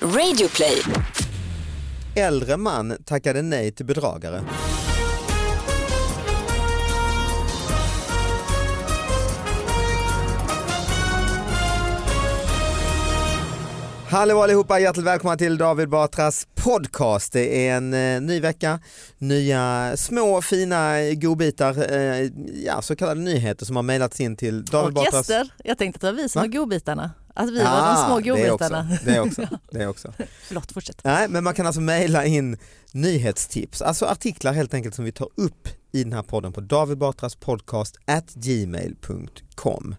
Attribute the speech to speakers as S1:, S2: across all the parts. S1: Radioplay.
S2: Äldre man tackade nej till bedragare. Hallå allihopa, hjärtligt välkomna till David Batras podcast. Det är en eh, ny vecka, nya små fina godbitar, eh, ja, så kallade nyheter som har mejlats in till David
S3: och
S2: Batras...
S3: gäster. Jag tänkte att det var vi som
S2: Va?
S3: var godbitarna. Att vi var de
S2: Ah,
S3: små
S2: det
S3: godbitarna.
S2: också, det också, det också.
S3: Förlåt, fortsätt.
S2: Nej, men man kan alltså mejla in nyhetstips, alltså artiklar helt enkelt som vi tar upp i den här podden på David Batras podcast at gmail.com.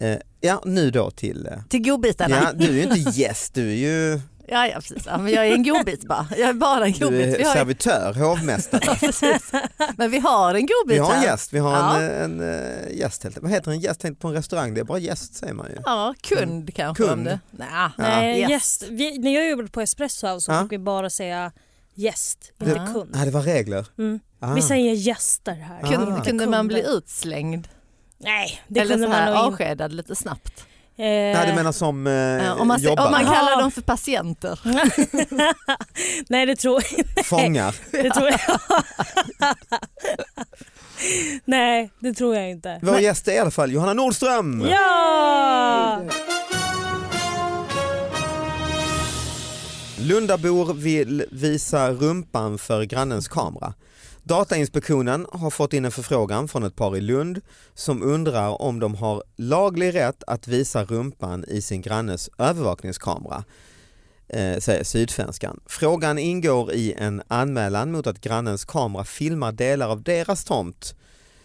S2: Eh, ja, nu då till... Eh,
S3: Till godbitarna.
S2: ja,
S3: Ja,
S2: du är ju inte gäst, du är ju
S3: ja, precis. Ja, men jag är en godbit bara. Jag är bara en
S2: du
S3: godbit. Vi
S2: är
S3: har,
S2: servitör, hovmästare.
S3: ja, precis. Men vi har en godbit
S2: Vi har en
S3: här.
S2: gäst, vi har
S3: Ja.
S2: en, en eh, gäst. Helt. Vad heter en gäst? Tänk på en restaurang, det är bara gäst säger man ju.
S3: Ja, kund kanske.
S2: Kund.
S3: Om det. Nja,
S2: Nej,
S3: yes.
S4: Eh, Gäst. Vi, när jag jobbade på Espresso House så
S2: Ja.
S4: fick vi bara säga gäst,
S3: Ja.
S4: inte kund.
S2: Nej, det var regler.
S4: Mm.
S2: Ah.
S4: Vi säger gäster här.
S2: Ah.
S3: Kunde, kunde man bli
S4: Kunder.
S3: utslängd
S4: Nej, det
S3: eller
S4: kunde
S3: så här
S4: man nog inte.
S3: avskedad lite snabbt?
S2: Nej, du
S4: Eh,
S2: menar som eh,
S3: Ja, om, man, se-
S2: jobbar,
S3: om man kallar
S4: Ja.
S3: dem för patienter.
S4: Nej, det tror,
S2: fångar.
S4: det tror jag Nej, det tror jag inte.
S2: Vår gäst är i alla fall Johanna Nordström.
S4: Ja!
S2: Lundabor vill visa rumpan för grannens kamera. Datainspektionen har fått in en förfrågan från ett par i Lund som undrar om de har laglig rätt att visa rumpan i sin grannes övervakningskamera, eh, säger Sydsvenskan. Frågan ingår i en anmälan mot att grannens kamera filmar delar av deras tomt,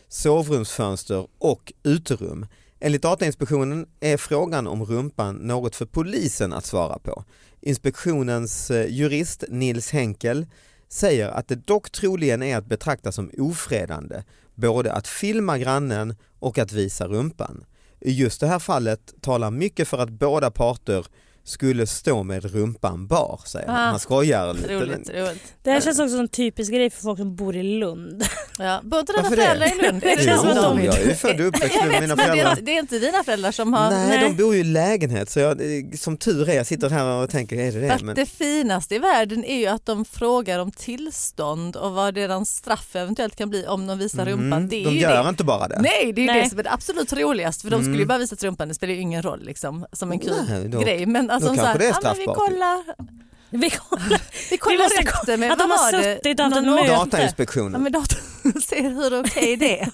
S2: sovrumsfönster och uterum. Enligt Datainspektionen är frågan om rumpan något för polisen att svara på. Inspektionens eh, jurist Nils Henkel säger att det dock troligen är att betrakta som ofredande både att filma grannen och att visa rumpan. I just det här fallet talar mycket för att båda parter skulle stå med rumpan bar, säger han.
S3: Ah,
S2: Han skojar lite.
S3: Roligt, roligt.
S4: Det här känns också som en typisk grej för folk som bor i Lund.
S3: Ja. Bor inte dina
S2: Varför det?
S3: föräldrar i Lund? Är
S4: Det känns
S2: jo,
S4: som att de-
S2: jag är ju född och uppväxt med mina
S3: Men det, är,
S2: föräldrar.
S3: inte- det är inte dina föräldrar som har
S2: Nej,
S4: nej.
S2: de bor ju i lägenhet så jag, eh, som tur är, jag sitter här och tänker, är det det?
S3: För att
S2: Men,
S3: det finaste i världen är ju att de frågar om tillstånd och vad deras straff eventuellt kan bli om de visar rumpan.
S2: mm,
S3: Det är
S2: de
S3: ju
S2: gör
S3: det.
S2: inte bara det. Mm.
S3: Nej, det är ju
S4: Nej.
S3: det som är det absolut roligaste för de skulle ju bara visa rumpan, det spelar ju ingen roll liksom, som en kul
S2: Nej, då-
S3: grej. Men alltså,
S2: då
S3: så här,
S2: kanske det är
S3: ja, men vi
S2: straffbart. typ."
S3: kollar,
S4: Vi kollar
S3: vi kollar
S4: måste
S3: upp det med
S4: att de
S3: vad
S4: har
S3: var det?
S4: suttit och haft
S3: Någon
S4: ett
S3: år-
S4: möte.
S3: Ja,
S2: Datainspektionen.
S3: men datorn ser hur okej det är.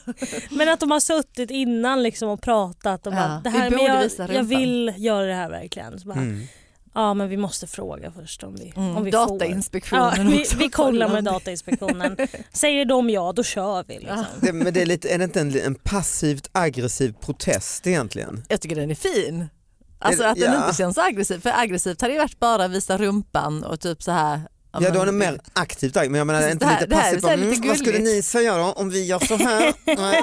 S4: Men att de har suttit innan liksom och pratat och
S3: Ja.
S4: bara, det
S3: Vi
S4: här, men
S3: borde
S4: jag,
S3: visa
S4: jag
S3: rumpan."
S4: vill göra det här verkligen. Så bara,
S2: Mm.
S4: Ja men vi måste fråga först om vi, om
S3: Mm,
S4: vi får. Ja,
S3: Datainspektionen
S4: vi,
S3: också.
S4: vi kollar med Datainspektionen. Säger de ja då kör vi. Liksom.
S2: Det, men det är, lite, är det inte en, en passivt aggressiv protest egentligen?
S3: Jag tycker den är fin. Alltså
S2: Är det-
S3: att den
S2: ja.
S3: inte känns aggressiv. För aggressivt hade ju varit bara visa rumpan och typ så här.
S2: Ja, då är
S3: men-
S2: den mer aktivt aggressiv, men jag menar
S3: Precis,
S2: inte
S3: det här-
S2: lite
S3: det här är
S2: passivt.
S3: så här
S2: bara,
S3: lite
S2: "Mm, vad skulle
S3: gulligt."
S2: ni säga då om vi gör så här? Nej.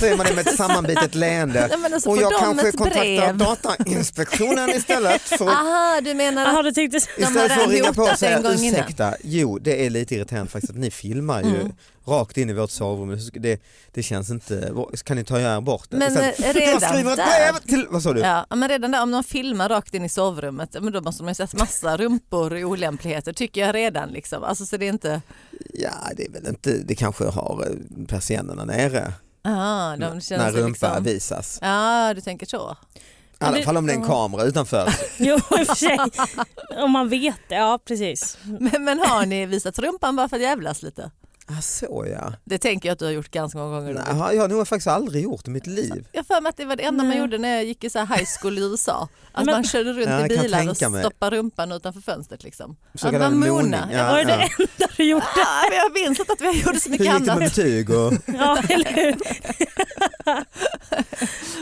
S2: Så är man det med ett sammanbitet leende.
S3: Ja, men alltså,
S2: Och
S3: får
S2: jag
S3: de
S2: kanske
S3: ett
S2: kontaktar
S3: brev? Ah,
S2: Datainspektionen istället för att
S3: Aha, du menar
S4: Jaha
S3: att...
S4: du tänkte så.
S3: har
S2: Istället för att
S3: redan
S2: ringa på och
S3: hotat
S2: säga
S3: en gång innan. Mm.
S2: ursäkta, jo det är lite irriterande faktiskt att ni filmar ju rakt in i vårt sovrum, det, det känns inte, kan ni ta er bort det?
S3: Men,
S2: Istället,
S3: eh, redan
S2: jag skriver ett
S3: där-
S2: brev till, vad sa du?
S3: Ja, men redan där, om de filmar rakt in i sovrummet, ja, men då måste de ju sett massa rumpor och olämpligheter tycker jag redan. Liksom. Alltså, så det är inte...
S2: Ja, det är väl inte, det kanske har eh, persiennerna nere
S3: Aha, de känner
S2: Mm. när
S3: sig
S2: rumpa
S3: liksom...
S2: visas. I
S3: Ja, du tänker så.
S2: alla
S4: det-
S2: fall om det är en
S4: ja.
S2: kamera utanför.
S4: Jo i och för sig. Om man vet det, ja precis.
S3: Men, men har ni visat rumpan bara för att jävlas lite?
S2: ah, så ja.
S3: Det tänker jag att du har gjort ganska många gånger.
S2: Nej, har jag har nog faktiskt aldrig gjort i mitt liv.
S3: Jag har för mig att det var det enda man gjorde när jag gick i så här high school i USA. Att
S4: Men-
S3: man körde runt
S2: Ja,
S3: i
S2: jag kan
S3: bilar och
S2: tänka mig.
S3: stoppade rumpan utanför fönstret. Liksom.
S2: Så
S3: Att
S2: kallad
S3: man
S2: moning,
S3: mona.
S2: ja.
S3: Jag
S4: Var
S3: bara,
S4: det det enda du gjorde?
S3: "Ah, men Jag minns inte att vi gjorde så
S2: Hur
S3: mycket
S2: gick det med
S3: annat.
S2: betyg? Och,
S4: Ja eller hur?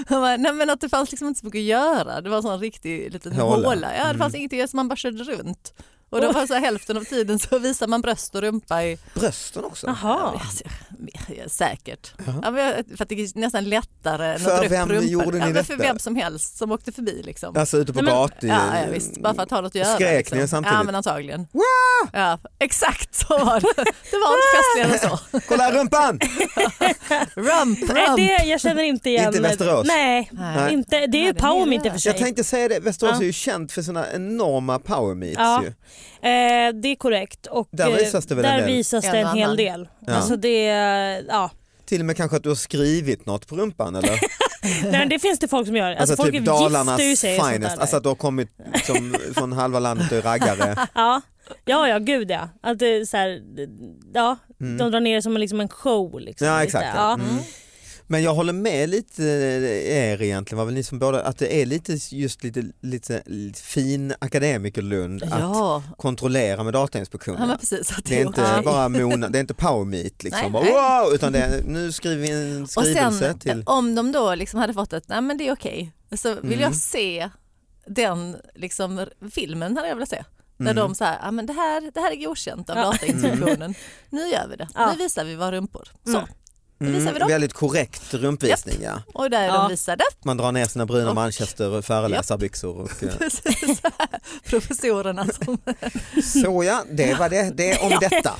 S3: Han bara, Nej, men att det fanns liksom inte så mycket att göra. Det var en sån riktig liten
S2: Håla.
S3: håla. Ja, det fanns ingenting att göra så man bara körde runt. Och då var så här, hälften av tiden så visar man bröst och rumpa i...
S2: Brösten också?
S4: Jaha.
S3: Alltså, jag- säkert.
S2: Jaha.
S3: Ja, men jag, för att det är nästan lättare än att
S2: För
S3: dra upp
S2: vem
S3: rumpan.
S2: gjorde ni
S3: ja, men För
S2: detta?
S3: vem som helst som åkte förbi liksom.
S2: Alltså ute på
S4: Nej, men-
S2: gatan?
S3: Ja, ja visst, bara för att ha något att göra. liksom.
S2: Skrek ni samtidigt?
S3: Ja men antagligen. Ja, exakt så var det. Det var inte festligare än så.
S2: Kolla rumpan!
S3: Rump,
S4: Nej,
S3: rump.
S4: det, jag känner inte igen
S2: Inte Västerås?
S4: Nej,
S3: Nej.
S4: Inte, det är ju
S3: Nej, det är
S4: Paum
S3: det.
S4: inte för sig.
S2: Jag tänkte säga det, Västerås
S4: Ja.
S2: är ju känt för sina enorma power meets
S4: Ja.
S2: ju.
S4: Eh, det är korrekt. Och,
S2: Där
S4: eh,
S2: visas det väl en
S4: där
S2: del?
S4: visas det
S3: En
S4: en,
S3: och
S4: hel
S3: annan.
S4: del.
S2: Ja.
S4: Alltså det, är- ja.
S2: Till och med kanske att du har skrivit något på rumpan eller? Alltså,
S4: Nej, men det finns det folk som gör. Alltså, folk
S2: typ
S4: gifter
S2: Dalarnas
S4: ju sig och sånt
S2: finest,
S4: där.
S2: alltså att du har kommit liksom, från halva landet och är raggare.
S4: ja. ja, ja gud ja. Att det, är så här, ja. De drar ner det som en- liksom en show. Liksom,
S2: Mm. Ja
S4: lite.
S2: exakt.
S4: Ja.
S2: Ja. Mm. Men jag håller med lite eh, er egentligen, var väl ni som båda, att det är lite just lite, lite, lite fin akademikerlund att
S3: Ja,
S2: kontrollera med Datainspektionen.
S3: ja men precis. Att
S2: Det är inte
S3: okej.
S2: bara mona, det är inte power meet liksom,
S3: Nej,
S2: bara,
S3: nej.
S2: wow, utan det är, nu skriver vi en
S3: Och
S2: skrivelse
S3: sen
S2: till...
S3: om de då liksom hade fått att nej men det är okej, så vill
S2: Mm.
S3: jag se den liksom, filmen hade jag velat se. Där
S2: Mm.
S3: de så här, ja men det här, det här är godkänt av
S4: Ja.
S3: Datainspektionen. Nu gör vi det.
S4: Ja.
S3: Nu visar vi våra rumpor. Så.
S4: Mm.
S3: visar vi dem.
S2: väldigt korrekt rumpvisning ja.
S3: Och där är
S4: Ja.
S3: de visade.
S2: Man drar ner sina bruna
S3: Och-
S2: manchester och föreläsarbyxor. Och, eh,
S3: Precis. Professorerna som...
S2: så ja, det var det, det om detta.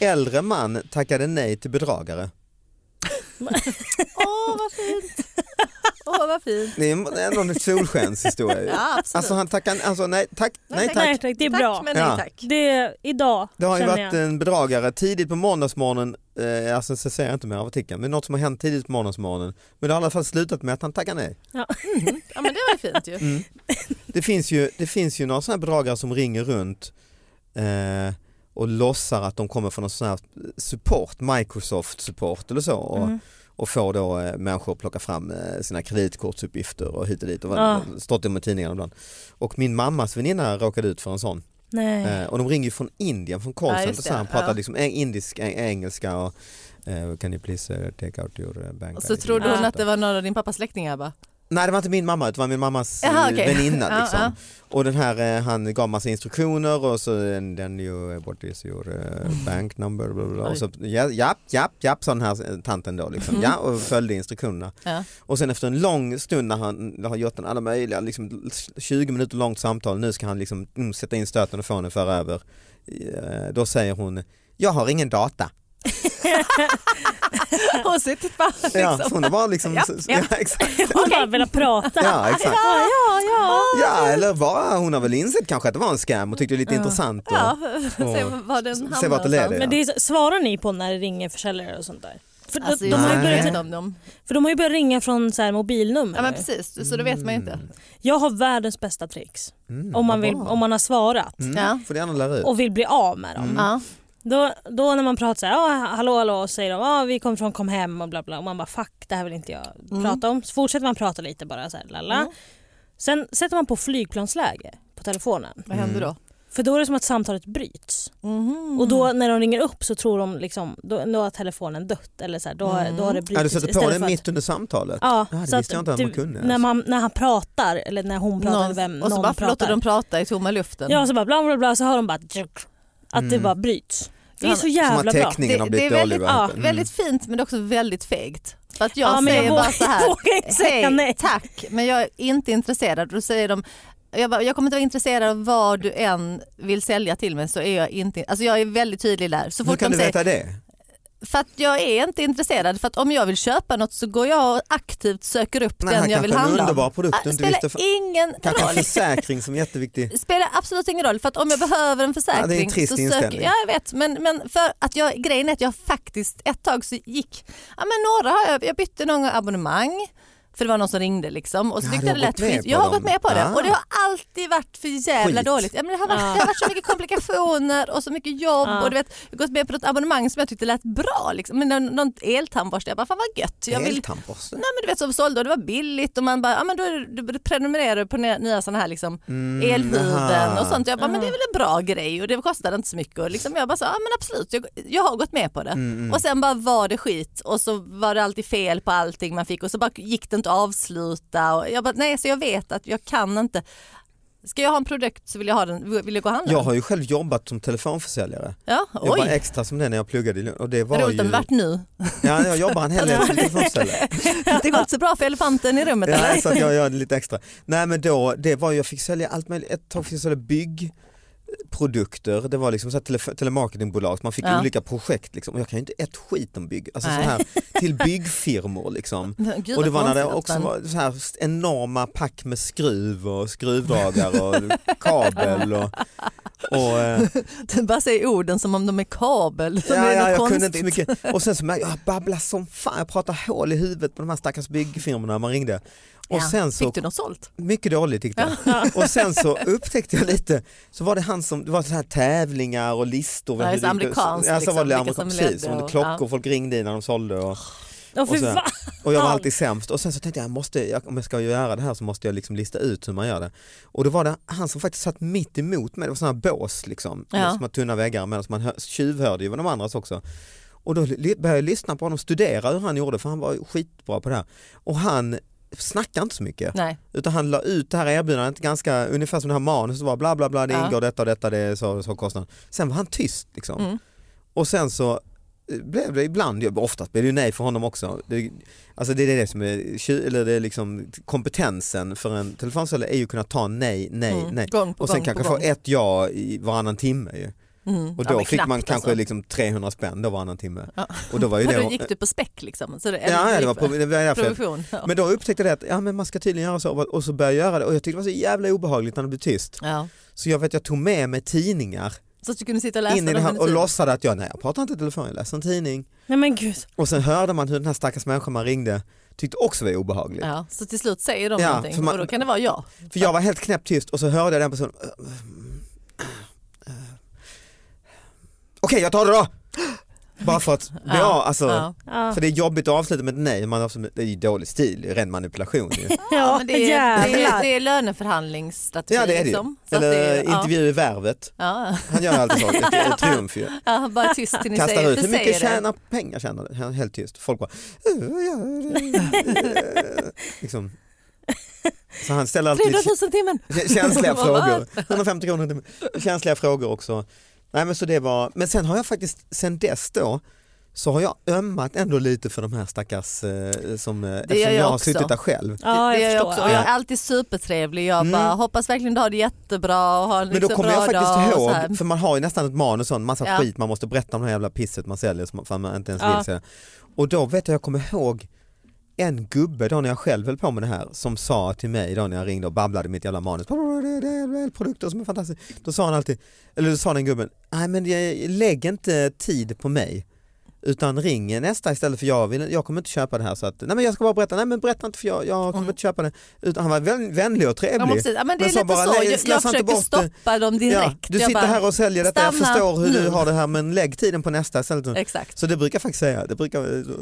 S2: Äldre man tackade nej till bedragare.
S3: Åh vad fint! Åh vad fint!
S2: Det är ändå en solskenshistoria. ju.
S3: Ja absolut.
S2: Alltså han tackade, alltså nej tack, nej tack.
S4: Nej, tack. Det är bra.
S3: Tack men
S2: Ja.
S3: nej tack.
S4: Det, idag
S2: Det har ju
S4: känner
S2: varit eh, en bedragare tidigt på måndagsmorgonen, eh, alltså så ser jag inte mer av artikeln, men något som har hänt tidigt på måndagsmorgonen. Men det har i alla fall slutat med att han tackar nej.
S3: Ja men det var ju fint ju.
S2: Mm. Det finns ju, det finns ju några sådana här bedragare som ringer runt eh, och låtsar att de kommer från någon sån här support, Microsoft support eller så och,
S4: Mm.
S2: och får då eh, människor att plocka fram eh, sina kreditkortsuppgifter och hit och dit och
S4: Ah.
S2: vad- stått om i tidningarna ibland. Och min mammas väninna råkade ut för en sån.
S4: Nej.
S2: Eh, och de ringer ju från Indien, från
S3: Ja,
S2: callcenter,
S3: just
S2: så han
S3: det.
S2: pratar
S3: Ja.
S2: liksom eng- indisk, eng- engelska och eh, can you please eh, take out your eh, bank
S3: Och så
S2: ID?"
S3: trodde hon
S4: Ja.
S3: att det var någon av din pappas släktingar bara.
S2: Nej det var inte min mamma utan det var min mammas
S3: Jaha,
S2: eh,
S3: okej.
S2: väninna
S3: Ja,
S2: liksom.
S3: ja.
S2: Och den här eh, han gav massa instruktioner och så "And then you, eh, what is your eh,
S3: Mm.
S2: bank number? Bla, bla, bla. Och så, ja, ja, ja, ja, sa den här eh, tanten då liksom.
S3: Mm.
S2: Ja, och följde instruktionerna.
S3: Ja.
S2: Och sen efter en lång stund när han har gjort en alla möjliga, liksom 20 minuter långt samtal, nu ska han liksom mm, sätta in stöten och få henne att föra över. Eh, Då säger hon, jag har ingen data.
S3: Hon sitter bara liksom.
S2: Ja, så hon har bara liksom,
S3: Ja, ja.
S2: ja exakt.
S4: Hon bara velat prata.
S2: Ja, exakt.
S4: Ja, ja, ja.
S2: Ja, eller var, hon har väl insett kanske att det var en scam och tyckte det var lite intressant. Och,
S3: Ja,
S2: och-
S3: se var den hamnar
S2: se vart det leder.
S4: Men
S2: ja.
S4: det är, så- svarar ni på när det ringer försäljare och sånt där? För,
S3: Alltså,
S4: de,
S3: jag
S4: de, har ju
S2: Nej.
S4: börjat,
S3: vet om dem.
S4: för de har ju börjat ringa från så här, mobilnummer.
S3: Ja men
S4: nu.
S3: precis, så då vet man ju inte.
S4: Jag har världens bästa tricks.
S2: Mm,
S4: Om man,
S2: vad
S4: vill,
S2: bra. Mm,
S4: om man har svarat
S3: Ja.
S2: Får du gärna lära ut.
S4: och vill bli av med dem.
S3: Ja.
S4: Då, då när man pratar så här, ah, hallå hallå, och säger de ah, vi kommer från kom hem och bla bla. Och man bara fuck det här vill inte jag
S2: Mm.
S4: prata om. Så fortsätter man prata lite bara så här, lala.
S3: Mm.
S4: Sen sätter man på flygplansläge på telefonen.
S3: Vad händer då?
S4: För då är det som att samtalet bryts. Och då
S2: Mm.
S4: när de ringer upp så tror de liksom, då, då har telefonen dött eller så här, då, har- då har det brutits.
S2: Mm. Ja, du sätter på
S4: istället
S2: den
S4: för att-
S2: mitt under samtalet.
S4: Ja,
S2: Ah, det
S4: så
S2: visste jag inte att man
S4: du-
S2: kunde
S4: När,
S2: ens.
S4: man, när han pratar eller när hon pratar eller vem
S3: och så
S4: någon
S3: bara
S4: pratar.
S3: låter de prata i tomma luften.
S4: Ja, så bara bla bla bla så hör de bara tjuk, att det bara bryts. Det är så jävla
S2: Mm. Som att
S4: bra.
S2: teckningen har
S3: Det-
S2: blivit
S3: det är
S2: dålig.
S3: väldigt-
S2: va?
S4: ja,
S2: Mm.
S3: Väldigt fint men det är också väldigt fegt. För att jag
S4: Ja, men
S3: säger
S4: jag
S3: bara så
S4: vågar, jag
S3: här.
S4: vågar inte säga
S3: Hej,
S4: nej.
S3: tack men jag är inte intresserad. Då säger de jag, bara, jag kommer inte vara intresserad av vad du än vill sälja till mig så är jag inte, alltså jag är väldigt tydlig där. Så
S2: Hur
S3: fort
S2: kan
S3: de
S2: du
S3: säger,
S2: veta det?
S3: För att jag är inte intresserad. För att om jag vill köpa något så går jag och aktivt söker upp
S2: Nej, här
S3: den jag vill
S2: kanske en
S3: handla om.
S2: underbar produkt
S3: Ah,
S2: du
S3: Det
S2: inte
S3: spelar
S2: visste för-
S3: ingen
S2: Kanske en
S3: roll.
S2: försäkring som är jätteviktig.
S3: spelar absolut ingen roll för att om jag behöver en försäkring
S2: Ja, det är en trist
S3: så
S2: inställning.
S3: Ja jag vet men, men för att jag, grejen är att jag faktiskt ett tag så gick, ja men några har jag, jag bytte någon gång abonnemang för det var någon som ringde liksom och så
S2: Ja,
S3: tyckte
S2: du
S3: jag
S2: har
S3: det
S2: gått
S3: lät
S2: med
S3: schysst.
S2: på
S3: Jag har
S2: dem.
S3: gått med på det
S2: Ah.
S3: och det har alltid varit för jävla
S2: Skit.
S3: dåligt. Ja, men det, har varit,
S4: Ja.
S3: det har varit så mycket komplikationer och så mycket jobb
S4: Ja.
S3: och du vet, jag har gått med på något abonnemang som jag tyckte lät bra. Liksom. Men någon, någon eltandborste, jag bara fan vad gött. Jag vill,
S2: Eltandborste?
S3: nej, men du vet som sålde och det var billigt och man bara, ja men då är det, du prenumererar du på nya, nya sådana här liksom
S2: Mm,
S3: elhuvuden
S2: aha.
S3: och sånt. Jag bara, men det är
S4: Ah.
S3: väl en bra grej och det kostade inte så mycket. Och liksom jag bara sa, ja men absolut, jag, jag har gått med på det.
S2: Mm, mm.
S3: Och sen bara var det skit och så var det alltid fel på allting man fick och så bara gick det inte att avsluta. Och jag bara, nej så jag vet att jag kan inte. Ska jag ha en produkt så vill jag, ha den, vill jag gå och handla
S2: Jag
S3: den.
S2: har ju själv jobbat som telefonförsäljare.
S3: Ja,
S2: Jag var
S3: oj.
S2: extra som det när jag pluggade i Lund. Och det var
S3: Roligt om
S2: ju...
S3: det vart nu.
S2: Ja, jag jobbar en hel del som telefonförsäljare.
S3: Det går inte så bra för elefanten i rummet
S2: Ja,
S3: eller?
S2: så att jag gör lite extra. Nej men då, det var ju, jag fick sälja allt möjligt, ett tag fick jag sälja byggprodukter, det var liksom så här tele- telemarketingbolag, man fick
S3: Ja.
S2: olika projekt liksom. och jag kan ju inte ett skit om bygg, alltså så
S3: Nej.
S2: här, till byggfirmor liksom.
S3: Men Gud,
S2: och
S3: vad
S2: det var när det
S3: konstigt att
S2: också
S3: man-
S2: var så här enorma pack med skruv och skruvdragare och kabel och, och eh,
S3: Du bara säger orden som om de är kabel. Som
S2: ja,
S3: är
S2: ja,
S3: något
S2: jag
S3: konstigt.
S2: kunde inte så mycket. Och sen så märkte jag, jag babblar som fan, jag pratar hål i huvudet på de här stackars byggfirmorna man ringde. Och
S3: Ja,
S2: sen så
S3: Fick du något sålt?
S2: Mycket dåligt tyckte jag. Och sen så upptäckte jag lite, så var det han som, det var så här tävlingar och listor.
S3: Ja, det är så
S2: Hur gick
S3: amerikanskt,
S2: Ja, så var det amerikanskt,
S3: liksom, vilka som
S2: precis.
S3: ledde
S2: Och
S3: och-
S2: klockor
S3: ja.
S2: folk ringde i när de sålde och,
S4: Åh, fy
S2: Och sen-
S4: fan.
S2: och jag var
S4: Fan.
S2: alltid sämst. Och sen så tänkte jag, jag måste, jag, om jag ska göra det här så måste jag liksom lista ut hur man gör det. Och då var det han som faktiskt satt mitt emot mig, det var sådana här bås liksom,
S3: Ja.
S2: som har tunna väggar medan man hör, tjuvhörde ju vad de andras också. Och då li- började jag lyssna på honom, studera hur han gjorde för han var skitbra på det här. Och han snackade inte så mycket.
S3: Nej.
S2: Utan han la ut det här erbjudandet ganska ungefär som det här manuset var bla bla bla det
S3: Ja.
S2: ingår detta och detta det är så, så kostnad. Sen var han tyst liksom.
S3: Mm.
S2: Och sen så eh, blev det ibland, oftast blev det ju nej för honom också. Det, alltså det är det som är, tju- eller det är liksom kompetensen för en telefonsäljare är ju att kunna ta nej, nej,
S3: Mm.
S2: nej.
S3: Gång på
S2: Och sen
S3: gång på
S2: kanske
S3: gång.
S2: få ett ja i varannan timme ju.
S3: Mm.
S2: Och
S3: Ja,
S2: då
S3: men
S2: fick man
S3: knappt,
S2: kanske
S3: alltså.
S2: liksom 300 spänn då varannan timme.
S3: Ja.
S2: Och då var ju
S3: Men
S2: det...
S3: då gick du på späck liksom? Så det,
S2: Ja, ja, det var,
S3: gick på
S2: pro- det var därför jag
S3: provision. Ja.
S2: men då upptäckte jag det att ja, men man ska tydligen göra så och så började jag göra det och jag tyckte det var så jävla obehagligt när det blev tyst.
S3: Ja.
S2: Så jag vet jag tog med mig tidningar
S3: Så att du kunde sitta och läsa
S2: in i det
S3: dem
S2: här
S3: under
S2: och
S3: tiden.
S2: låtsade att jag, nej jag pratar inte i telefon, jag läser en tidning.
S4: Nej men gud.
S2: Och sen hörde man hur den här stackars människan man ringde tyckte också var obehagligt.
S3: Ja, så till slut säger de
S2: Ja,
S3: någonting
S2: för man-
S3: och då kan det vara jag.
S2: För jag var helt knäpptyst och så hörde jag den personen. "Eh, eh, eh, eh." Okej jag tar det då! Bara för att, ja, alltså,
S3: ja.
S4: Ja.
S2: för det är jobbigt att avsluta med ett nej, man, har absolut- det är ju dålig stil, det är ren manipulation ju.
S3: Ja,
S4: Ja,
S3: men det, är, det, är,
S4: jävlar.
S3: det är löneförhandlingsstrategi.
S2: Ja det är det ju.
S3: liksom. Så att
S2: Eller
S3: det är-
S2: intervju i Värvet.
S3: Ja,
S2: Han gör alltid så, det är triumf ju.
S3: ja, ja, bara tyst till ni
S2: Kastar
S3: säger,
S2: ut, hur
S3: säger
S2: mycket
S3: det.
S2: tjänar pengar tjänar du? Han är Helt tyst. Folk bara... "Eh, ja, eh, eh." liksom. Så han ställer alltid
S3: 300
S2: lite
S3: 000 timmen.
S2: kä- känsliga
S3: Vad var
S2: frågor. 150 kronor. till- Känsliga frågor också. Nej, men, så det var, men sen har jag faktiskt, sen dess då, så har jag ömmat ändå lite för de här stackars eh, som, eh, eftersom
S3: jag
S2: jag, har
S3: också.
S2: suttit där själv.
S4: Ja,
S3: det gör
S4: jag
S3: jag
S4: förstår.
S3: också. Och jag är
S2: Ja.
S3: alltid supertrevlig. Jag
S2: Mm.
S3: bara hoppas verkligen du har det jättebra och har en
S2: Men då
S3: liksom
S2: kommer
S3: bra
S2: jag faktiskt
S3: dag. och så här.
S2: ihåg, för man har ju nästan ett manus och en massa
S3: Ja.
S2: skit man måste berätta om det här jävla pisset man säljer som fan man inte ens
S4: Ja.
S2: vill sälja. Och då vet jag, jag kommer ihåg en gubbe då när jag själv höll på med det här som sa till mig då när jag ringde och babblade mitt jävla manus, "Bla, bla, bla, det är väl produkter som är fantastiska. Då sa han alltid, eller då sa den gubben, nej men jag- lägg inte tid på mig utan ring nästa istället för jag, vill, jag kommer inte köpa det här så att, nej men jag ska bara berätta, nej men berätta inte för jag, jag kommer
S3: Mm.
S2: inte köpa det. Utan han var vän- vänlig och
S3: Ja, men
S2: trevlig.
S3: precis. Ja, men det
S2: Men
S3: är
S2: så
S3: lite
S2: bara,
S3: så.
S2: nej,
S3: jag,
S2: slösa
S3: jag
S2: inte
S3: försöker
S2: bort det.
S3: stoppa dem direkt.
S2: du
S3: jag
S2: sitter
S3: bara,
S2: här och säljer detta, jag
S3: stanna
S2: förstår hur
S3: nu.
S2: du har det här men lägg tiden på nästa istället.
S3: Exakt,
S2: Så det brukar jag faktiskt säga. Det brukar, eh,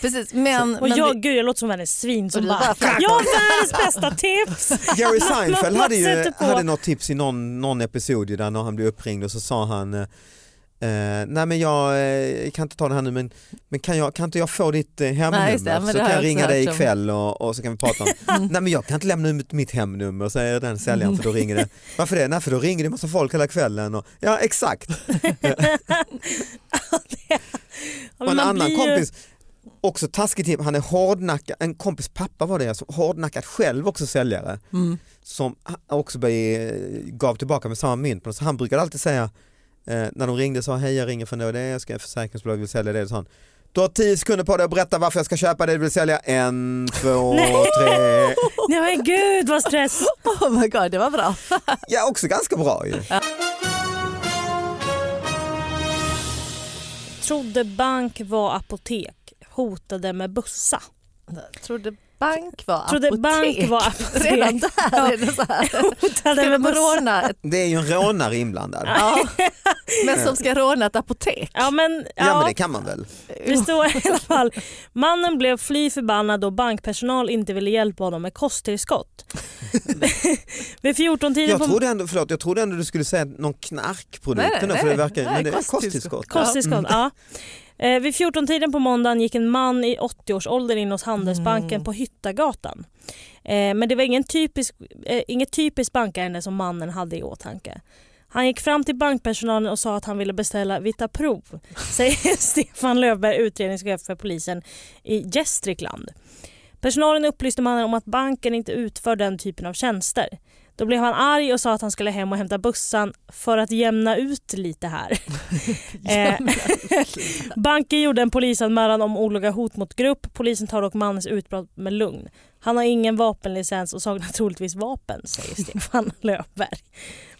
S3: precis. Men,
S4: Och
S3: men
S4: jag, gud jag låter som världens svin
S3: Och
S4: som
S3: du
S4: bara,
S3: bara,
S4: jag har världens bästa tips.
S2: Gary Seinfeld hade, ju,
S4: sätter på.
S2: hade något tips i någon, någon episod ju där när han blev uppringd och så sa han eh, eh, nej men jag eh, kan inte ta det här nu men, men kan, jag, kan inte jag få ditt eh,
S3: Nej,
S2: hemnummer
S3: just det, men
S2: så
S3: det har
S2: kan
S3: jag
S2: jag
S3: också
S2: ringa dig
S3: hört om.
S2: ikväll och, och så kan vi prata om nej men jag kan inte lämna ut mitt hemnummer säger den säljaren för då ringer det varför det? Nej för då ringer det massa folk hela kvällen och, ja exakt
S4: Ja, men
S2: Och en
S4: man
S2: annan
S4: blir ju-
S2: kompis, också taskigt tips, han är hårdnackad, en kompis pappa var det alltså, hårdnackad själv också säljare
S3: Mm.
S2: som ha- också började, gav tillbaka med samma mynt. Men Så han brukade alltid säga, eh, när de ringde och sa hej jag ringer från det och det, jag ska försäkringsbolag vill sälja det och sånt. Du har tio sekunder på dig att berätta varför jag ska köpa det du vill sälja. En, två, tre.
S4: Nej men gud vad stress.
S3: Oh my god, det var bra.
S2: Ja, också ganska bra ju.
S4: Trodde bank var apotek. Hotade med bussa.
S3: Trodde bank var
S4: Trodde
S3: apotek.
S4: bank var apotek.
S3: Redan där är det så här.
S4: Hotell
S3: Ska
S4: med
S3: de
S4: buss.
S3: råna ett,
S2: Det är ju en rånare inblandad. Ja,
S3: ja, men som ska råna ett apotek.
S4: Ja men, ja,
S2: men det kan man väl?
S4: det står i alla fall. Mannen blev fly förbannad då bankpersonal inte ville hjälpa honom med kosttillskott. Vid 14-tiden
S2: Jag
S4: på
S2: trodde ändå, förlåt, jag trodde ändå du skulle säga någon knarkprodukt
S3: Nej,
S2: nej, nej, för
S3: nej.
S2: det verkar
S3: Nej,
S2: men det är
S3: kosttillskott.
S2: kosttillskott.
S4: Kosttillskott, ja. Eh, vid 14-tiden på måndagen gick en man i 80-årsåldern in hos Handelsbanken på Hyttagatan. Eh, men det var ingen typisk, eh, inget typiskt bankärende som mannen hade i åtanke. Han gick fram till bankpersonalen och sa att han ville beställa Vitaprov, säger Stefan Löfberg, utredningschef för polisen i Gästrikland. Personalen upplyste mannen om att banken inte utför den typen av tjänster. Då blev han arg och sa att han skulle hem och hämta bussan för att jämna ut lite här. Eh, Banken gjorde en polisanmälan om olaga hot mot grupp. Polisen tar dock mannens utbrott med lugn. Han har ingen vapenlicens och saknar troligtvis vapen, säger Stefan Löfberg.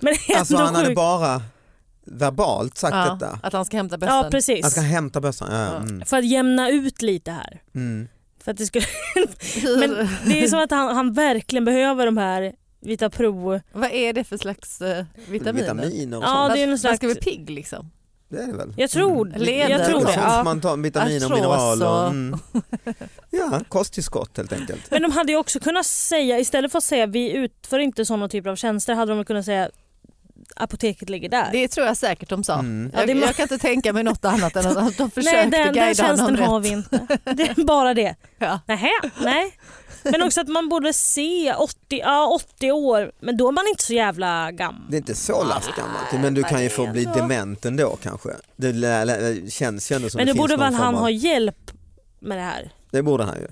S4: Men det är
S2: Alltså
S4: ändå
S2: han hade
S4: sjukt.
S2: bara verbalt sagt
S3: Ja,
S2: detta.
S3: att han ska hämta bössan.
S4: Ja,
S2: Han ska
S3: Alltså,
S4: precis.
S2: hämta bössan. Ja, Ja, mm,
S4: För att jämna ut lite här.
S2: mm.
S4: För att det, skulle...
S3: Hur,
S4: Men det är ju som att han, han verkligen behöver de här Vita Pro.
S3: vad är det för slags eh, vitaminer?
S2: Vitaminer och
S4: Ja,
S2: sånt.
S4: det är ju någon
S3: Man ska
S4: slags...
S3: bli pigg liksom.
S2: Det är det väl? Mm.
S4: Jag tror,
S3: Leder
S4: jag tror
S3: och
S4: det.
S2: sånt som
S4: Ja.
S2: man tar vitaminer och
S3: Artros
S2: mineral och...
S3: och-
S2: Mm. Ja, kosttillskott helt enkelt.
S4: Men de hade ju också kunnat säga, istället för att säga vi utför inte sådana typer av tjänster, hade de väl kunnat säga apoteket ligger där.
S3: Det tror jag säkert de sa.
S2: Mm.
S4: Ja,
S3: Jag,
S4: det må-
S3: jag kan inte tänka mig något annat än att de försökte
S4: Nej den, den
S3: guida
S4: tjänsten
S3: honom
S4: har
S3: rätt.
S4: vi inte. Det är bara det.
S3: Ja.
S4: Nähä, nej. Men också att man borde se 80, ja, 80 år, men då är man inte så jävla gammal.
S2: Det är inte så lastgammalt men du kan ju få bli dement ändå kanske. Det lä- lä- känns ju ändå som
S4: Men
S2: det
S4: nu
S2: finns
S4: borde
S2: någon
S4: väl
S2: form
S4: han
S2: av-
S4: ha hjälp med det här?
S2: Det borde han ju.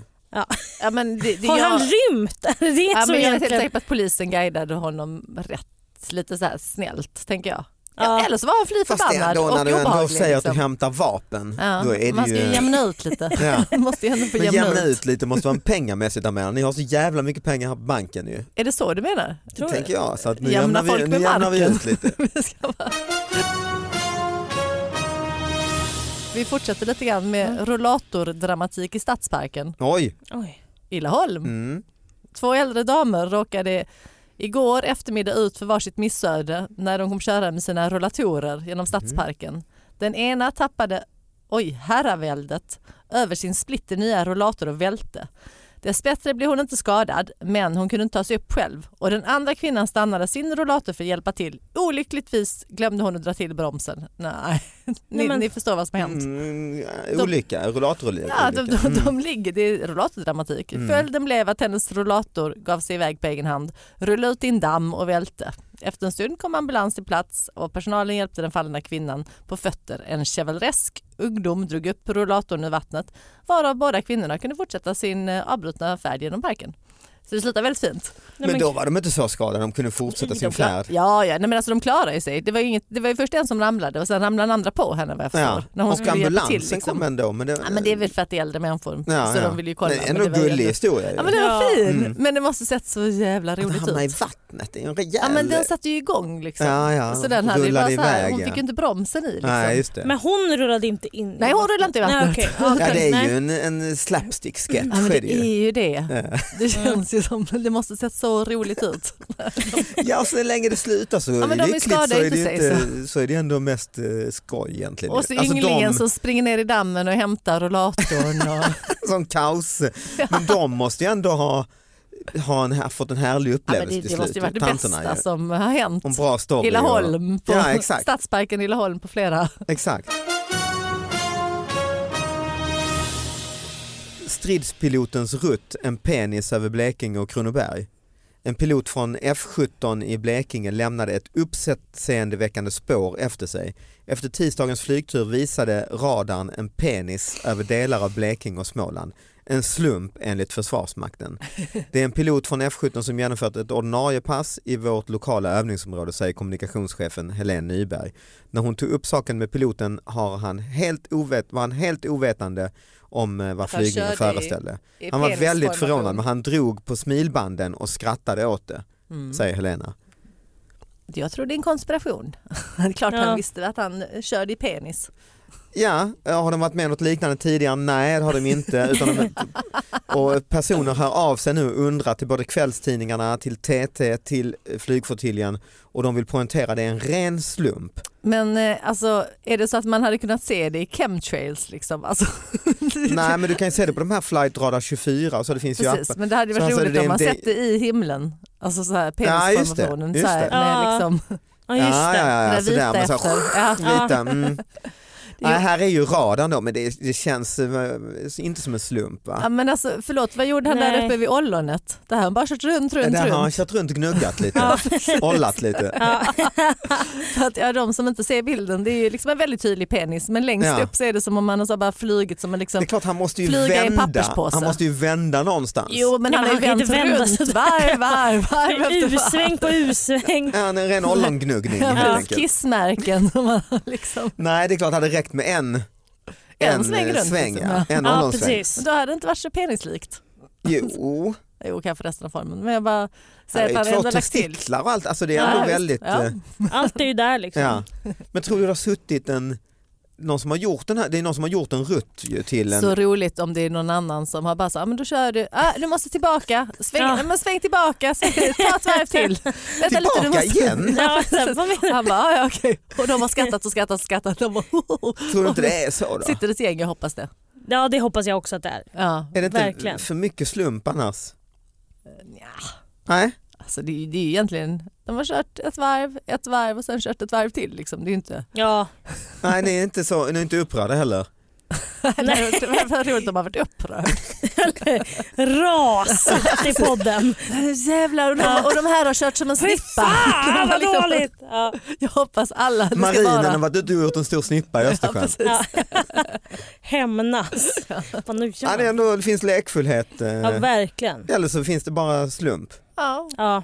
S3: Ja, men det, det,
S4: Har
S3: jag,
S4: han rymt? Är det det
S3: ja,
S4: som
S3: men jag är helt
S4: egentligen...
S3: säker på att polisen guidade honom rätt, lite så här snällt tänker jag.
S4: Ja.
S3: Ja. Eller så var han fly
S2: Fast det
S3: förbannad
S2: ändå när du
S3: och
S2: ändå
S3: obehaglig.
S2: säger att du
S3: liksom.
S2: hämtar vapen,
S3: ja.
S2: då är
S3: Man
S2: det
S3: ska ju
S2: ju...
S3: jämna ut lite.
S2: Ja.
S3: Man måste ju ändå få
S2: Men
S3: jämna,
S2: jämna
S3: ut.
S2: ut lite måste vara en pengamässigt Amanda. Ni har så jävla mycket pengar här på banken ju.
S3: Är det så du menar?
S4: Tror du?
S2: tänker jag. Så att nu
S3: Jämna
S2: jämnar,
S3: folk
S2: vi, nu
S3: med
S2: jämnar vi
S3: marken.
S2: ut lite.
S3: Vi ska bara- Vi fortsätter lite grann med rollatordramatik i Stadsparken.
S2: Oj.
S4: Oj.
S3: Illaholm.
S2: Mm.
S3: Två äldre damer råkade igår eftermiddag ut för varsitt missöde när de kom köra med sina rollatorer genom Stadsparken. Den ena tappade, oj, herraväldet över sin splitter nya rollator och välte. Dessbättre blev hon inte skadad, men hon kunde inte ta sig upp själv och den andra kvinnan stannade sin rollator för att hjälpa till. Olyckligtvis glömde hon att dra till bromsen. Nej, ni,
S4: Nej, men-
S3: ni förstår vad som har hänt.
S2: Mm, olycka, rullatorulycka.
S3: Ja, de, de, de ligger, det är rullatordramatik.
S2: Mm.
S3: Följden blev att hennes rullator gav sig iväg på egen hand, rullade ut i en damm och välte. Efter en stund kom ambulans till plats och personalen hjälpte den fallna kvinnan på fötter. En chevaleresk ungdom drog upp rullatorn ur vattnet varav båda kvinnorna kunde fortsätta sin eh, avbrutna färd genom parken. Så det slutade väldigt fint.
S4: Nej,
S2: Men då var de inte så skadade, de kunde fortsätta sin
S3: De klar-
S2: färd.
S3: Ja, ja. Nej, men alltså, de klarade ju sig. Det var ju, inget, det var ju först en som ramlade och sen ramlade den andra på henne vad jag förstår.
S2: Ja.
S3: När hon
S2: Och
S3: skulle hjälpa
S2: ambulansen
S3: liksom.
S2: kom ändå. Men det,
S3: Ja, men det är väl för att det är äldre människor
S2: Ja,
S3: så
S2: ja.
S3: de vill ju kolla.
S2: Det är ändå
S3: men det var ju
S2: gullig historia. ju.
S3: Ja men den var
S4: Ja.
S3: fin
S2: Mm.
S3: men det måste sett så jävla
S2: Att
S3: roligt
S2: hamna i
S3: ut.
S2: vattnet, det är ju en rejäl...
S3: Ja men den satte ju igång liksom.
S2: Ja, ja.
S3: Så den hade ju bara
S2: Rullade
S3: så här,
S2: iväg,
S3: hon
S2: ja.
S3: fick ju inte bromsen i liksom.
S2: Nej just det.
S4: Men hon rullade inte in i
S3: Nej, hon
S4: vattnet.
S3: rullade inte i vattnet.
S4: Nej, okej. Ja,
S2: ja, det är
S4: nej.
S2: ju en, en slapstick-sketch.
S3: Ja, men
S2: är
S3: det
S2: det
S3: är
S2: ju.
S3: ju det.
S2: Ja.
S3: Det känns ju som, det måste sett så roligt ut.
S2: Ja, så länge det slutar så
S3: men de är
S2: lyckligt så
S3: skadade
S2: är, det
S3: inte
S2: ju
S3: sig,
S2: inte, så är det ändå mest eh, skoj egentligen.
S3: Och så
S2: Alltså,
S3: ynglingen
S2: de
S3: som springer ner i dammen och hämtar rullatorn. Och...
S2: som kaos. Men de måste ju ändå ha, ha en, här- fått en härlig
S3: Ja, men
S2: upplevelse
S3: det, det
S2: till
S3: måste ju
S2: slut.
S3: varit det
S2: Tanterna
S3: bästa alltså.
S2: ju.
S3: som har hänt.
S2: Om bra story. Och,
S3: Illaholm, på
S2: Ja, exakt.
S3: Stadsparken Illaholm på flera.
S2: exakt. Stridspilotens rutt, en penis över Blekinge och Kronoberg. En pilot från F17 i Blekinge lämnade ett uppseendeväckande spår efter sig. Efter tisdagens flygtur visade radarn en penis över delar av Blekinge och Småland. En slump enligt Försvarsmakten. Det är en pilot från F17 som genomfört ett ordinarie pass i vårt lokala övningsområde säger kommunikationschefen Helene Nyberg. När hon tog upp saken med piloten har han helt ovet- var han helt ovetande om eh, vad
S3: Att han körde
S2: flygningen
S3: i-
S2: föreställde. Han var väldigt förvånad men han drog på smilbanden och skrattade åt det,
S3: Mm.
S2: säger Helena.
S3: Jag tror det är en konspiration. Det är klart
S4: Ja.
S3: han visste att han körde i penis.
S2: Ja, eh, har de varit med om något liknande tidigare? Nej, det har de inte. Utan de, och personer hör av sig nu och undrar till både kvällstidningarna, till TT, till eh, flygflottiljen och de vill poängtera det är en ren slump.
S3: Men eh, alltså, är det så att man hade kunnat se det i chemtrails liksom? Alltså,
S2: Nej, men du kan ju se det på de här Flight Radar 24 så det finns ju
S3: precis,
S2: appar.
S3: men det hade ju
S2: Så
S3: varit
S2: alltså,
S3: roligt
S2: det är
S3: om man
S2: en del-
S3: sett det i himlen. Alltså så här
S2: Ja, just det,
S3: penisformationen.
S2: just
S3: så här,
S2: det.
S3: med
S4: Ja.
S3: liksom
S4: Ja just
S2: ja,
S4: det.
S2: ja, ja,
S3: det
S2: ja, sådär,
S3: vita
S2: men så,
S3: efter. Ja.
S2: vita, mm. Nej, här är ju radarn då, men det, det känns eh, inte som en slump. Va?
S3: Ja, men alltså, förlåt, vad gjorde han där
S4: Nej.
S3: uppe vid ollonet? Där har han bara kört runt, runt,
S2: Där har han
S3: runt.
S2: kört runt och gnuggat lite,
S4: Ja.
S2: ollat lite.
S4: Ja.
S3: För att, ja, de som inte ser bilden, det är ju liksom en väldigt tydlig penis men längst
S2: Ja.
S3: upp så är det som om han har så bara flugit som en
S2: Det är
S3: liksom...
S2: klart han måste ju
S3: Flyga i en
S2: vända,
S3: papperspåse.
S2: han måste ju vända någonstans.
S3: Jo men
S4: Ja,
S3: han
S4: men
S3: har ju
S4: han kan ju
S3: vänt
S4: inte vända
S3: runt
S4: sig där.
S3: varv, varv, varv efter varv.
S4: U-sväng på U-sväng.
S2: Ja, han är en ren ollongnuggning
S3: Ja,
S2: helt
S3: precis.
S2: enkelt.
S3: Kissmärken. som han har liksom.
S2: Nej det är klart det hade räckt med en,
S3: En sväng
S2: eh,
S3: runt,
S2: sväng
S3: liksom.
S2: ja. en
S4: Ja
S2: ollonsväng.
S4: precis.
S3: Då hade det inte varit så penislikt.
S2: Jo,
S3: Jo kanske resten av formen men jag bara
S2: det
S3: säger att han
S2: är två
S3: ändå lagt till.
S2: testiklar och allt, alltså det är
S4: Ja,
S2: ändå
S3: visst.
S2: väldigt...
S3: Ja.
S2: eh,
S4: Allt är ju där liksom.
S2: Ja. Men tror du det har suttit en, någon som har gjort den här, det är någon som har gjort en rutt ju till en...
S3: Så roligt om det är någon annan som har bara så, ah, men då kör du, ah, du måste tillbaka, sväng,
S4: Ja.
S3: nej, men sväng tillbaka, sväng, ta ett varv till. Vänta
S2: Tillbaka igen?
S4: Ja, så här, vad menar du?
S3: Han bara, ah, ja, okej. Och de har skrattat och skrattat och skrattat. De bara, "Ho, ho, ho."
S2: Tror du inte det är så då?
S3: Sitter det ett gäng, jag hoppas det.
S4: ja det hoppas jag också att det är.
S3: Ja.
S2: Är det inte
S4: verkligen.
S2: för mycket slump annars?
S3: Eh, nja.
S2: Nej,
S3: Alltså det, är ju- det är ju egentligen, de har kört ett varv, ett varv och sen kört ett varv till. Liksom. Det är ju inte...
S4: Ja.
S2: Nej ni är inte, så, ni är inte upprörda heller.
S3: Nej. Det var- det var roligt om man varit upprörd.
S4: Ras i podden.
S3: Jävlar, och de, och de här har kört som en
S4: Fy
S3: snippa.
S4: fan vad
S3: Liksom,
S4: dåligt. Ja.
S3: Jag hoppas alla, det ska
S2: Marinen har
S3: bara...
S2: varit ute och gjort en stor snippa i Östersjön.
S3: precis.
S4: Ja. Hämnas. Vad nu
S2: Ja,
S4: gör
S2: det, är
S4: man?
S2: ändå, det finns lekfullhet. eh,
S4: Ja verkligen.
S2: Eller så finns det bara slump.
S3: Ja.
S4: Ja.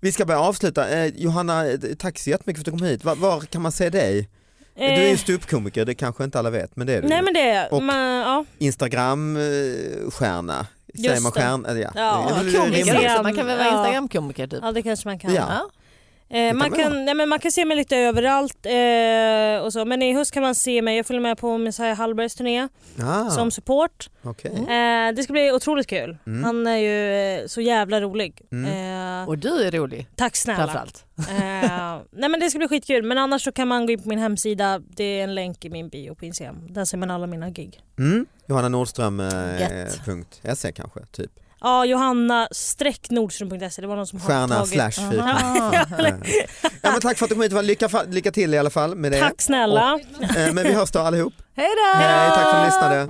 S2: Vi ska börja avsluta. Eh, Johanna, eh, tack så jättemycket för att du kom hit. Var, var kan man se dig? Du är ju
S4: Eh,
S2: ståuppkomiker, det kanske inte alla vet, men det är du.
S4: Nej men det är
S2: Och-
S4: jag. Man- Ja.
S2: Instagram-stjärna. Säger
S4: Just
S2: man
S4: det.
S2: stjärna? Ja,
S4: Ja,
S2: Det är väl
S3: Komiker
S2: rimligt.
S3: också, man kan väl vara
S4: Ja.
S3: instagramkomiker typ.
S4: ja det kanske man kan.
S2: Ja.
S3: Ja.
S4: Eh, man,
S2: man ha.
S4: kan, nej, men man kan se mig lite överallt eh, och så. men i höst kan man se mig, jag följer med på Messiah Hallbergs turné
S2: Ah, Mm.
S4: som support.
S2: okej. Mm.
S4: Eh, det ska bli otroligt kul. Han är ju eh, så jävla rolig. Eh,
S3: Och du är rolig
S4: tack snälla.
S3: framförallt.
S4: Eh, nej men det ska bli skitkul men annars så kan man gå in på min hemsida, det är en länk i min bio på Instagram. Där ser man alla mina gig.
S2: Mm. Johanna Nordström eh,
S3: Gött.
S2: punkt SE kanske, typ.
S4: Ja, Johanna streck nordström.se, det var någon som har
S2: Stjärna
S4: tagit.
S2: slash Eh. fyr. ja, men Tack för att du kom hit, Det var lycka, fa- lycka till i alla fall med det.
S4: Tack snälla.
S2: Eh, Men vi hörs då allihop.
S3: Hej då!
S2: Hej, tack för att ni lyssnade.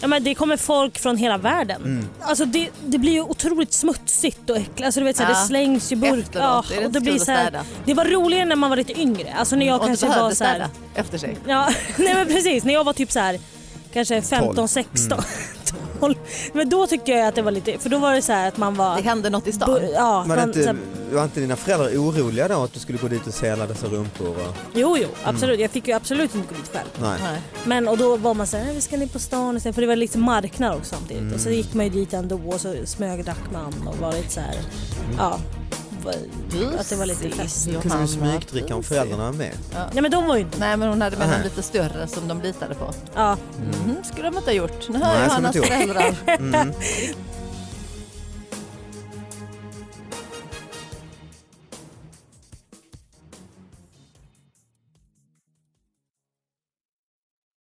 S4: Ja, men det kommer folk från hela världen.
S2: Mm.
S4: Alltså det, det blir ju otroligt smutsigt och äckligt. Alltså, du vet, så här,
S3: Ja.
S4: Det slängs ju burkar.
S3: Efteråt är det
S4: och
S3: inte
S4: det, blir
S3: kul att
S4: så här,
S3: städa.
S4: det var roligare när man var lite yngre. Alltså, när jag
S3: och inte
S4: kanske var
S3: behövde
S4: så här,
S3: städa efter sig.
S4: ja, nej, men precis, När jag var typ så här, kanske
S2: Mm.
S4: 15, 16, 12. Men då tyckte jag att det var lite... För då var det så här att man var...
S3: Det hände något i
S4: bu-
S3: stan.
S4: ja,
S2: Var, det
S4: man, så
S2: inte,
S4: här,
S2: var inte dina föräldrar oroliga då att du skulle gå dit och se alla dessa rumpor? Och,
S4: jo,
S2: Mm.
S4: jo, absolut. Jag fick ju absolut inte gå dit själv.
S2: nej.
S3: Nej.
S4: Men och då var man såhär, vi ska ner på stan istället för det var lite marknad också samtidigt. Och så gick man ju dit ändå och så smögdrack man och var lite såhär, ja.
S3: Du
S4: Att det var lite
S3: ser,
S4: fest.
S3: Johanna.
S2: Kunde du smygdricka om föräldrarna var med?
S4: Nej men de var ju inte,
S3: Nej men hon hade med någon
S2: Nej. Mm.
S3: lite större som de litade på.
S4: ja.
S3: Mhm, skulle de inte ha gjort. Nu
S2: Nej,
S3: hör
S2: skulle de
S3: Johannas
S2: inte ha
S3: föräldrar.